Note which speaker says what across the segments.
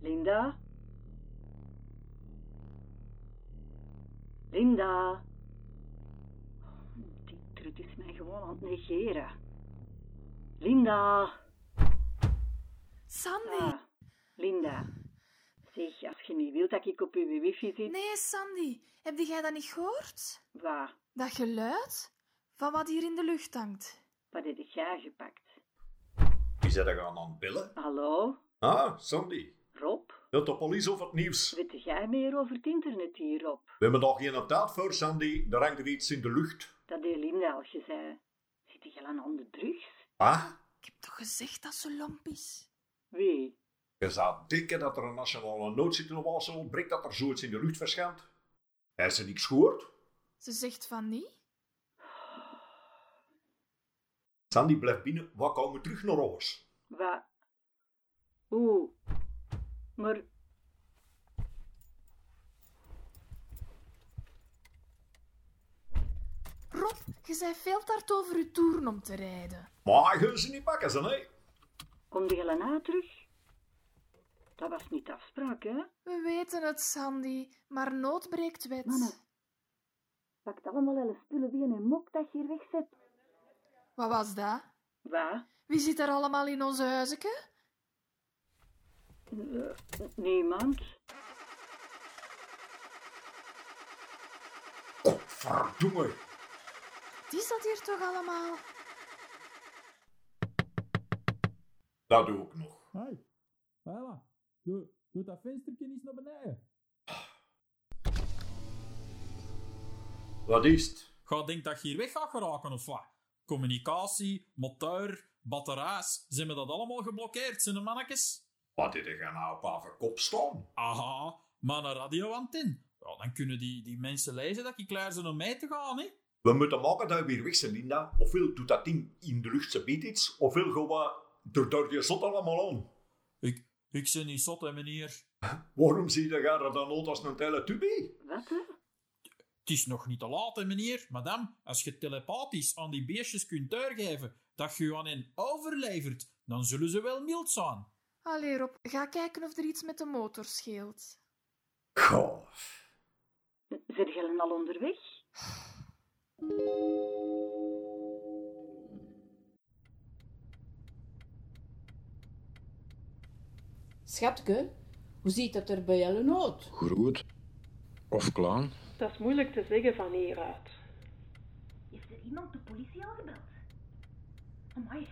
Speaker 1: Linda? Linda? Oh, Die trut is mij gewoon aan het negeren. Linda?
Speaker 2: Sandy!
Speaker 1: Ah, Linda. Zeg, als je niet wilt dat ik op uw wifi zit,
Speaker 2: Nee, Sandy, heb jij dat niet gehoord?
Speaker 1: waar?
Speaker 2: Dat geluid van wat hier in de lucht hangt.
Speaker 1: Wat heb jij gepakt?
Speaker 3: Is hij dat gaan aanbellen?
Speaker 1: Hallo?
Speaker 3: Ah, Sandy.
Speaker 1: Rob?
Speaker 3: Dat de police over het nieuws. We
Speaker 1: Weet jij meer over het internet hier, Rob?
Speaker 3: hebben daar geen tijd voor, Sandy. Er hangt er iets in de lucht.
Speaker 1: Dat deed Linda al gezegd. Zit je al aan de drugs?
Speaker 3: Ah?
Speaker 2: Ik heb toch gezegd dat ze lomp is?
Speaker 1: Wie?
Speaker 3: Je zou denken dat er een nationale noodsituatie ontbreekt, dat er zoiets in de lucht verschijnt. Hij ze niks gehoord.
Speaker 2: Ze zegt van niet.
Speaker 3: Sandy, blijf binnen. Wat komen terug naar ons?
Speaker 1: Wat? Hoe? Maar
Speaker 2: Rob, je bent veel te hard over je toeren om te rijden.
Speaker 3: Maar je ze niet pakken, ze, nee.
Speaker 1: kom je al na terug? Dat was niet de afspraak, hè?
Speaker 2: We weten het, Sandy, maar nood breekt wet.
Speaker 1: Mama. Pak allemaal alle spullen binnen en mok dat je hier wegzet.
Speaker 2: Wat was dat?
Speaker 1: Wat?
Speaker 2: Wie zit er allemaal in onze huizenke?
Speaker 1: Eh. N- Niemand?
Speaker 3: Godverdomme.
Speaker 2: Wat is dat hier toch allemaal?
Speaker 3: Dat doe ik nog.
Speaker 4: Hoi. Voilà. Doe, doe dat venstertje eens naar beneden.
Speaker 3: Wat is het?
Speaker 4: Ga denk dat je hier weg gaat geraken of wat? Communicatie, motor, batterijs, zijn we dat allemaal geblokkeerd, zijn de mannetjes?
Speaker 3: Wat dit er gaan nou op haar kop staan?
Speaker 4: Aha, maar een radioantenne. Ja, dan kunnen die, die mensen lezen dat je klaar zijn om mee te gaan, hè?
Speaker 3: We moeten maken dat we weer weg zijn, Linda. Ofwel doet dat ding in de lucht, ze biedt iets. Ofwel gewoon door, door je zot allemaal aan.
Speaker 4: Ik, ik ben niet zot, hè, meneer. Het
Speaker 3: Waarom zie je daar dan nooit als een teletubby?
Speaker 1: Wat, hè?
Speaker 4: is nog niet te laat, hè, meneer. Madame, als je telepathisch aan die beestjes kunt doorgeven dat je je aan hen overlevert, dan zullen ze wel mild zijn.
Speaker 2: Allee, Rob, ga kijken of er iets met de motor scheelt.
Speaker 3: Goh.
Speaker 1: Zijn je al onderweg?
Speaker 5: Schatke, hoe ziet het er bij jullie uit?
Speaker 6: Groot. Of klein.
Speaker 7: Dat is moeilijk te zeggen van hieruit.
Speaker 8: Heeft er iemand de politie al gebeld? Amai,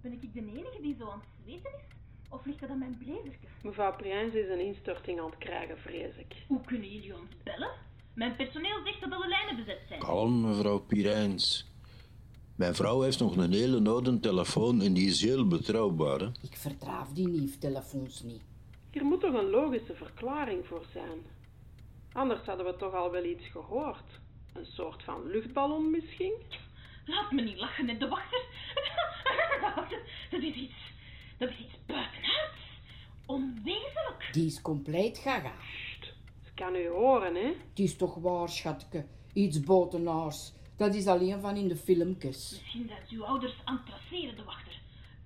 Speaker 8: ben ik de enige die zo aan het zweten is? Of ligt dat aan mijn blazerke?
Speaker 7: Mevrouw Priens is een instorting aan het krijgen, vrees ik.
Speaker 8: Hoe kunnen jullie ons bellen? Mijn personeel zegt dat alle lijnen bezet zijn.
Speaker 6: Kalm, mevrouw Pirijns. Mijn vrouw heeft nog een hele oude telefoon en die is heel betrouwbaar. Hè?
Speaker 5: Ik verdraaf die nieuwtelefoons niet.
Speaker 7: Hier moet toch een logische verklaring voor zijn. Anders hadden we toch al wel iets gehoord. Een soort van luchtballon misschien?
Speaker 8: Laat me niet lachen met de wachter. dat is iets, dat is iets buitenaards. Onwezenlijk.
Speaker 5: Die is compleet gaga.
Speaker 7: Sst, ze kan u horen, hè?
Speaker 5: Het is toch waar, schatke? Iets botenaars. Dat is alleen van in de filmpjes.
Speaker 8: Misschien zijn ze uw ouders aan het traceren, de wachter.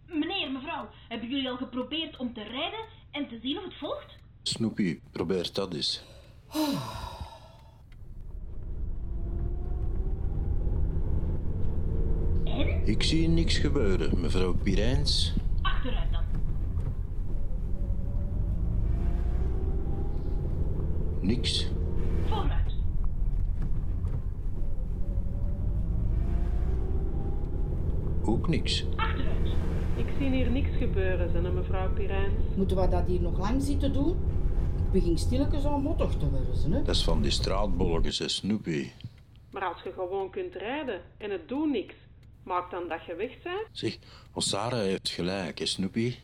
Speaker 8: Meneer, mevrouw, hebben jullie al geprobeerd om te rijden en te zien of het volgt?
Speaker 6: Snoepie, probeer dat eens.
Speaker 8: En?
Speaker 6: Ik zie niks gebeuren, mevrouw Pirijns.
Speaker 8: Achteruit dan.
Speaker 6: Niks.
Speaker 8: Vooruit.
Speaker 6: Ook niks.
Speaker 8: Achteruit.
Speaker 7: Ik zie hier niks gebeuren, zei mevrouw Pirijns.
Speaker 5: Moeten we dat hier nog lang zitten doen? Ik begin stilletjes al mottig te worden, hè?
Speaker 6: Dat is van die straatbolletjes, hè, Snoepie.
Speaker 7: Maar als je gewoon kunt rijden en het doet niks, maak dan dat je weg bent.
Speaker 6: Zeg, Osara heeft gelijk, hè, Snoepie.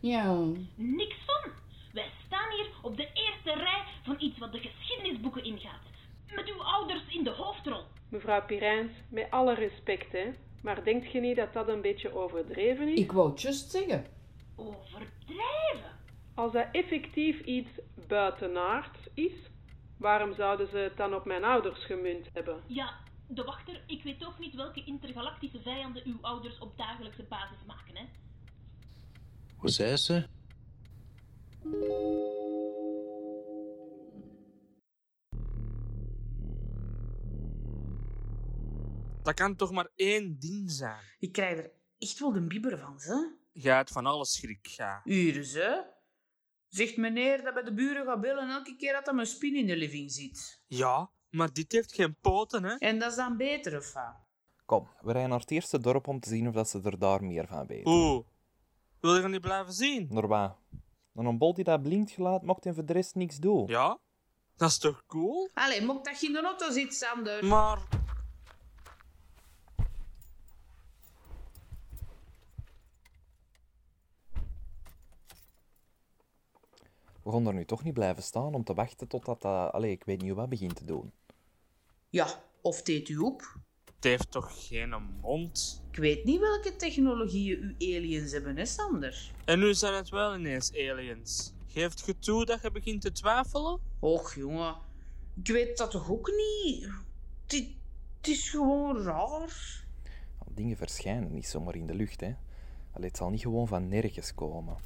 Speaker 5: Ja.
Speaker 8: Niks van. Wij staan hier op de eerste rij van iets wat de geschiedenisboeken ingaat. Met uw ouders in de hoofdrol.
Speaker 7: Mevrouw Pirijns, met alle respect, hè? Maar denkt je niet dat dat een beetje overdreven is?
Speaker 5: Ik wou het juist zeggen.
Speaker 8: Overdrijven?
Speaker 7: Als dat effectief iets buitenaards is, waarom zouden ze het dan op mijn ouders gemunt hebben?
Speaker 8: Ja, de wachter, ik weet ook niet welke intergalactische vijanden uw ouders op dagelijkse basis maken, hè.
Speaker 6: Wat zei ze?
Speaker 9: Dat kan toch maar één ding zijn.
Speaker 10: Ik krijg er echt wel de bibber van, ze.
Speaker 9: Jij hebt van alles schrik, ja.
Speaker 10: Hier is, hè. Zegt meneer dat bij de buren gaat bellen elke keer dat hem een spin in de living zit.
Speaker 9: Ja, maar dit heeft geen poten, hè.
Speaker 10: En dat is dan beter, of wat?
Speaker 11: Kom, we rijden naar het eerste dorp om te zien of dat ze er daar meer van weten.
Speaker 9: Oeh, wil je niet blijven zien?
Speaker 11: Naar waar? Naar een bol die dat blind gelaat mocht en voor de rest niks doen.
Speaker 9: Ja, dat is toch cool?
Speaker 10: Allee, mocht dat je in de auto zit, Sander?
Speaker 9: Maar
Speaker 11: We gaan er nu toch niet blijven staan om te wachten totdat dat... eh, Allee, ik weet niet wat begint te doen.
Speaker 10: Ja, of deed u op?
Speaker 9: het heeft toch geen mond?
Speaker 10: Ik weet niet welke technologieën uw aliens hebben, hè, Sander?
Speaker 9: En nu zijn het wel ineens aliens. Geeft je toe dat je begint te twijfelen?
Speaker 10: Och, jongen. Ik weet dat toch ook niet? Het i- het is gewoon raar.
Speaker 11: Nou, dingen verschijnen niet zomaar in de lucht, hè. Allee, het zal niet gewoon van nergens komen.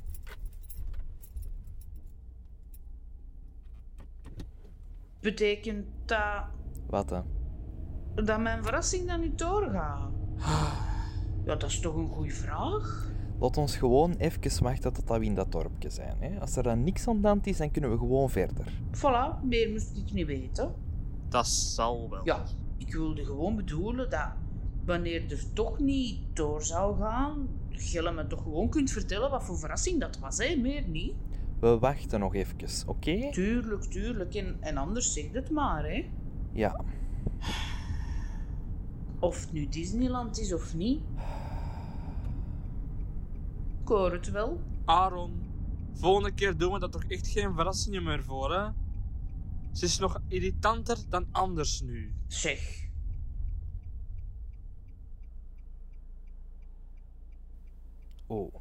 Speaker 10: Betekent dat...
Speaker 11: Wat, hè?
Speaker 10: dat mijn verrassing dan niet doorgaat? Ja, dat is toch een goede vraag?
Speaker 11: Laat ons gewoon even wachten tot dat we in dat dorpje zijn, hè. Als er dan niks aan de hand is, dan kunnen we gewoon verder.
Speaker 10: Voilà, meer moest ik niet weten.
Speaker 9: Dat zal wel.
Speaker 10: Ja, ik wilde gewoon bedoelen dat wanneer er toch niet door zou gaan, je me toch gewoon kunt vertellen wat voor verrassing dat was, hè? meer niet.
Speaker 11: We wachten nog even, oké?
Speaker 10: Tuurlijk, tuurlijk, en, en anders zeg het maar, hè.
Speaker 11: Ja.
Speaker 10: Of het nu Disneyland is of niet. Ik hoor het wel.
Speaker 9: Aaron, volgende keer doen we dat toch echt geen verrassingen meer voor, hè? Ze is nog irritanter dan anders nu.
Speaker 10: Zeg.
Speaker 11: Oh.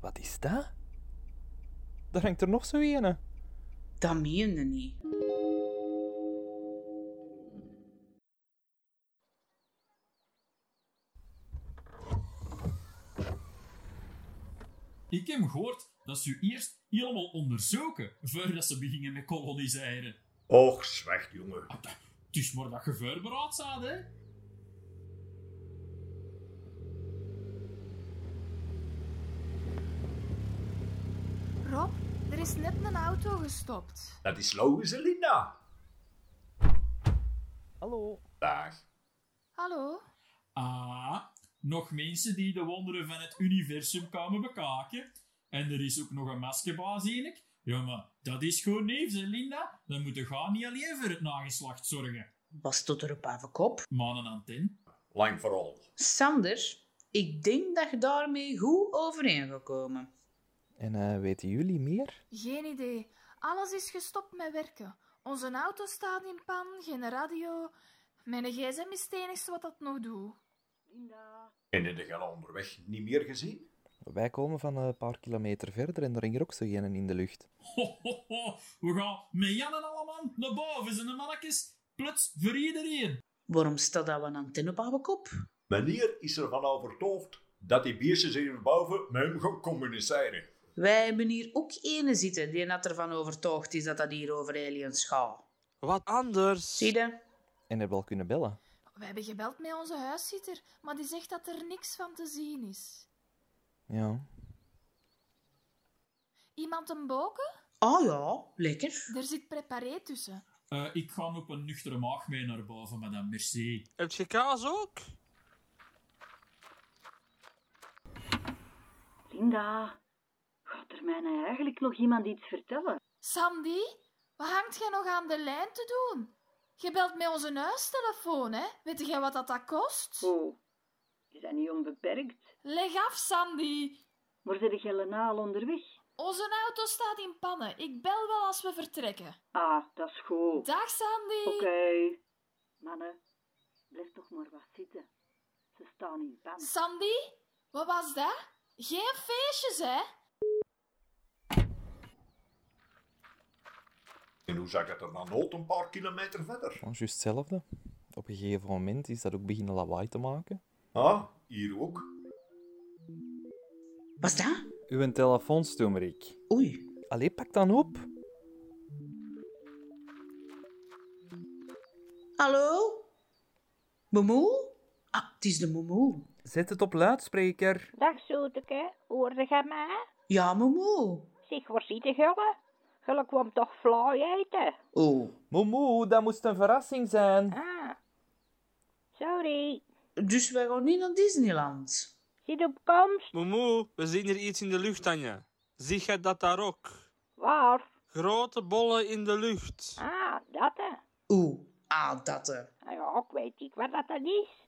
Speaker 11: Wat is dat? Daar hangt er nog zo een.
Speaker 10: Dat meende niet.
Speaker 4: Ik heb gehoord dat ze u eerst helemaal onderzoeken voordat ze beginnen met koloniseren.
Speaker 3: Och, zwijg, jongen.
Speaker 4: Het is maar dat je voorbereid staat, hè?
Speaker 2: Rob, er is net een auto gestopt.
Speaker 3: Dat is Louise Linda.
Speaker 11: Hallo.
Speaker 3: Dag.
Speaker 2: Hallo?
Speaker 4: Ah, nog mensen die de wonderen van het universum komen bekaken. En er is ook nog een maskerbaas, zie ik. Ja, maar dat is goed nieuws, hè, Linda. Dan moet je gaan niet alleen voor het nageslacht zorgen.
Speaker 10: Was tot erop aan de kop.
Speaker 4: Maar een antenne.
Speaker 3: Lang vooral.
Speaker 10: Sander, ik denk dat je daarmee goed overeen gaat komen.
Speaker 11: En eh, weten jullie meer?
Speaker 2: Geen idee. Alles is gestopt met werken. Onze auto staat in pan, geen radio. Mijn gsm is het enigste wat dat nog doet.
Speaker 1: Linda.
Speaker 3: En in de gala onderweg niet meer gezien?
Speaker 11: Wij komen van een paar kilometer verder en daar hing er ook zo een in de lucht.
Speaker 4: Ho, ho, ho. We gaan met Jan en allemaal naar boven, zijn de mannetjes. Plots voor iedereen.
Speaker 10: Waarom staat dat een antenne op haar kop?
Speaker 3: Meneer is ervan overtuigd dat die beestjes hierboven met hem gaan communiceren.
Speaker 10: Wij hebben hier ook ene zitten die net ervan overtuigd is dat dat hier over aliens gaat.
Speaker 9: Wat anders?
Speaker 10: Zie je?
Speaker 11: En hebben al kunnen bellen.
Speaker 2: We hebben gebeld met onze huiszitter, maar die zegt dat er niks van te zien is.
Speaker 11: Ja.
Speaker 2: Iemand een boken?
Speaker 10: Ah ja, lekker.
Speaker 2: Er zit preparé tussen.
Speaker 4: Eh, ik ga op een nuchtere maag mee naar boven, madame. Merci.
Speaker 9: Heb je kaas ook?
Speaker 1: Linda. Gaat er mij nou eigenlijk nog iemand iets vertellen?
Speaker 2: Sandy, wat hangt jij nog aan de lijn te doen? Je belt met onze huistelefoon, hè? Weet jij wat dat, dat kost?
Speaker 1: Oh, is dat niet onbeperkt?
Speaker 2: Leg af, Sandy.
Speaker 1: Maar zijn je na al onderweg?
Speaker 2: Onze auto staat in pannen. Ik bel wel als we vertrekken.
Speaker 1: Ah, dat is goed.
Speaker 2: Dag, Sandy.
Speaker 1: Oké. Mannen, blijf toch maar wat zitten. Ze staan in paniek.
Speaker 2: Sandy, wat was dat? Geen feestjes, hè?
Speaker 3: En hoe zag het er dan uit een paar kilometer verder?
Speaker 11: Juist hetzelfde. Op een gegeven moment is dat ook beginnen lawaai te maken.
Speaker 3: Ah, hier ook.
Speaker 11: Was dat? Uw telefoon, Stoemerik. Oei. Allee, pak dan op.
Speaker 10: Hallo? Momoe? Ah, het is de Momoe.
Speaker 11: Zet het op luidspreker.
Speaker 12: Dag zoeteke, hoorde jij mij?
Speaker 10: Ja, Momoe.
Speaker 12: Zeg, waar zit je gulle? Gulle kwam toch fly eten?
Speaker 10: Oh.
Speaker 11: Momoe, dat moest een verrassing zijn.
Speaker 12: Ah, sorry.
Speaker 10: Dus wij gaan niet naar Disneyland.
Speaker 12: Zit op komst?
Speaker 9: Momoe, we zien hier iets in de lucht, Anja. Zie jij dat daar ook?
Speaker 12: Waar?
Speaker 9: Grote bollen in de lucht.
Speaker 12: Ah, dat hè.
Speaker 10: Oeh, ah, dat er.
Speaker 12: Ah Ja, ik weet niet wat dat dan is.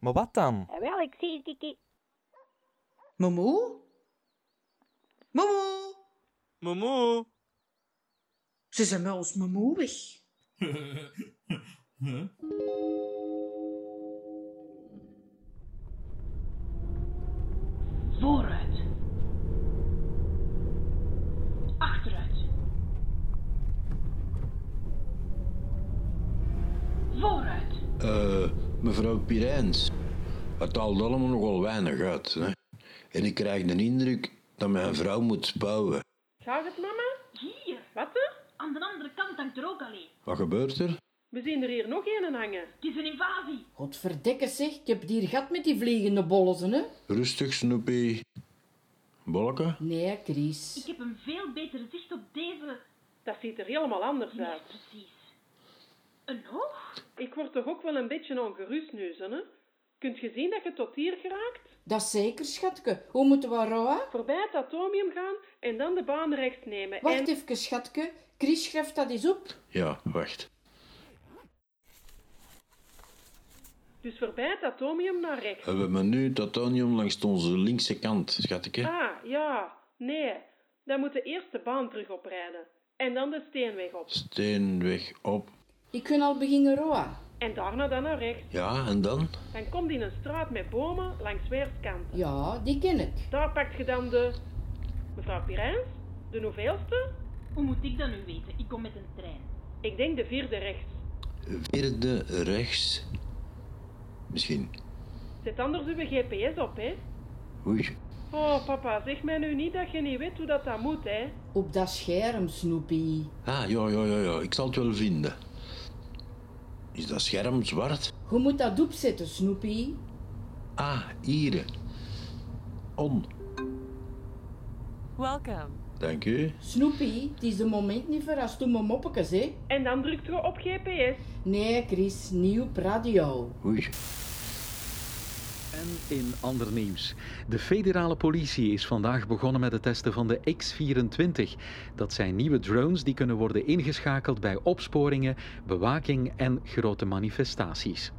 Speaker 11: Maar wat dan?
Speaker 12: En wel, ik zie het niet.
Speaker 10: Momoe? Momoe?
Speaker 9: Momoe?
Speaker 10: Ze zijn wel eens momoe weg.
Speaker 4: Huh?
Speaker 8: Vooruit. Achteruit. Vooruit.
Speaker 6: Eh, mevrouw Pirijns, het haalt allemaal nogal weinig uit. Hè? En ik krijg de indruk dat mijn vrouw moet spouwen.
Speaker 7: Gaat het, mama?
Speaker 8: Hier.
Speaker 7: Wat hè?
Speaker 8: Aan de andere kant hangt er ook alleen.
Speaker 6: Wat gebeurt er?
Speaker 7: We zien er hier nog een hangen.
Speaker 8: Het is een invasie.
Speaker 5: Godverdikke zeg, ik heb het hier gehad met die vliegende bollen, hè?
Speaker 6: Rustig, Snoopy. Bolken?
Speaker 5: Nee, Chris.
Speaker 8: Ik heb een veel betere zicht op deze.
Speaker 7: Dat ziet er helemaal anders uit.
Speaker 8: precies. Een hoog?
Speaker 7: Ik word toch ook wel een beetje ongerust nu, zo, hè? Kunt je zien dat je tot hier geraakt?
Speaker 5: Dat zeker, schatke. Hoe moeten we rouwen?
Speaker 7: Voorbij het atomium gaan en dan de baan rechts nemen. en...
Speaker 5: Wacht even, schatke. Chris schrijft dat eens op.
Speaker 6: Ja, wacht.
Speaker 7: Dus voorbij het atomium naar rechts.
Speaker 6: Hebben Eh, we nu het titanium langs onze linkse kant, schatje?
Speaker 7: Ah, ja. Nee. Dan moet de eerste baan terug oprijden. En dan de steenweg op.
Speaker 6: Steenweg op.
Speaker 5: Ik kan al beginnen rouwen.
Speaker 7: En daarna dan naar rechts.
Speaker 6: Ja, en dan?
Speaker 7: Dan komt in een straat met bomen langs weerskanten.
Speaker 5: Ja, die ken ik.
Speaker 7: Daar pakt je dan de... Mevrouw Pirijns? De hoeveelste?
Speaker 8: Hoe moet ik dat nu weten? Ik kom met een trein.
Speaker 7: Ik denk de vierde rechts.
Speaker 6: Vierde rechts. Misschien.
Speaker 7: Zet anders uw GPS op, hè.
Speaker 6: Oei.
Speaker 7: Oh, papa, zeg mij nu niet dat je niet weet hoe dat, dat moet, hè.
Speaker 5: Op dat scherm, Snoopy.
Speaker 6: Ah, ja, ja, ja, ja. Ik zal het wel vinden. Is dat scherm zwart?
Speaker 5: Je moet dat opzetten, Snoopy.
Speaker 6: Ah, hier. On.
Speaker 7: Welcome.
Speaker 6: Dank u.
Speaker 5: Snoopy, het is de moment niet voor als toen mijn moppetjes, hè?
Speaker 7: En dan drukt je op GPS.
Speaker 5: Nee, Chris, niet op radio.
Speaker 6: Oei.
Speaker 13: En in ander nieuws. De federale politie is vandaag begonnen met het testen van de X-24. Dat zijn nieuwe drones die kunnen worden ingeschakeld bij opsporingen, bewaking en grote manifestaties.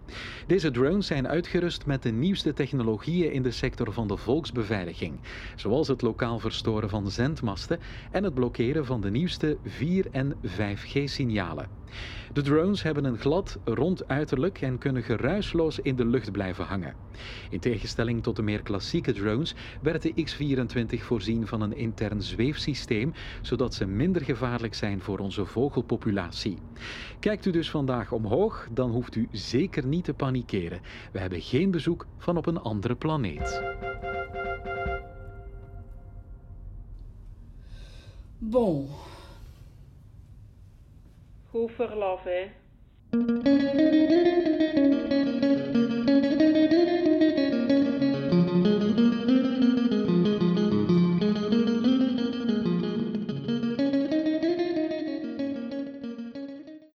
Speaker 13: Deze drones zijn uitgerust met de nieuwste technologieën in de sector van de volksbeveiliging, zoals het lokaal verstoren van zendmasten en het blokkeren van de nieuwste 4- en 5G-signalen. De drones hebben een glad, rond uiterlijk en kunnen geruisloos in de lucht blijven hangen. In tegenstelling tot de meer klassieke drones werd de X-24 voorzien van een intern zweefsysteem, zodat ze minder gevaarlijk zijn voor onze vogelpopulatie. Kijkt u dus vandaag omhoog, dan hoeft u zeker niet te panikeren. We hebben geen bezoek van op een andere planeet.
Speaker 5: Bon.
Speaker 7: Goed verlof, hè.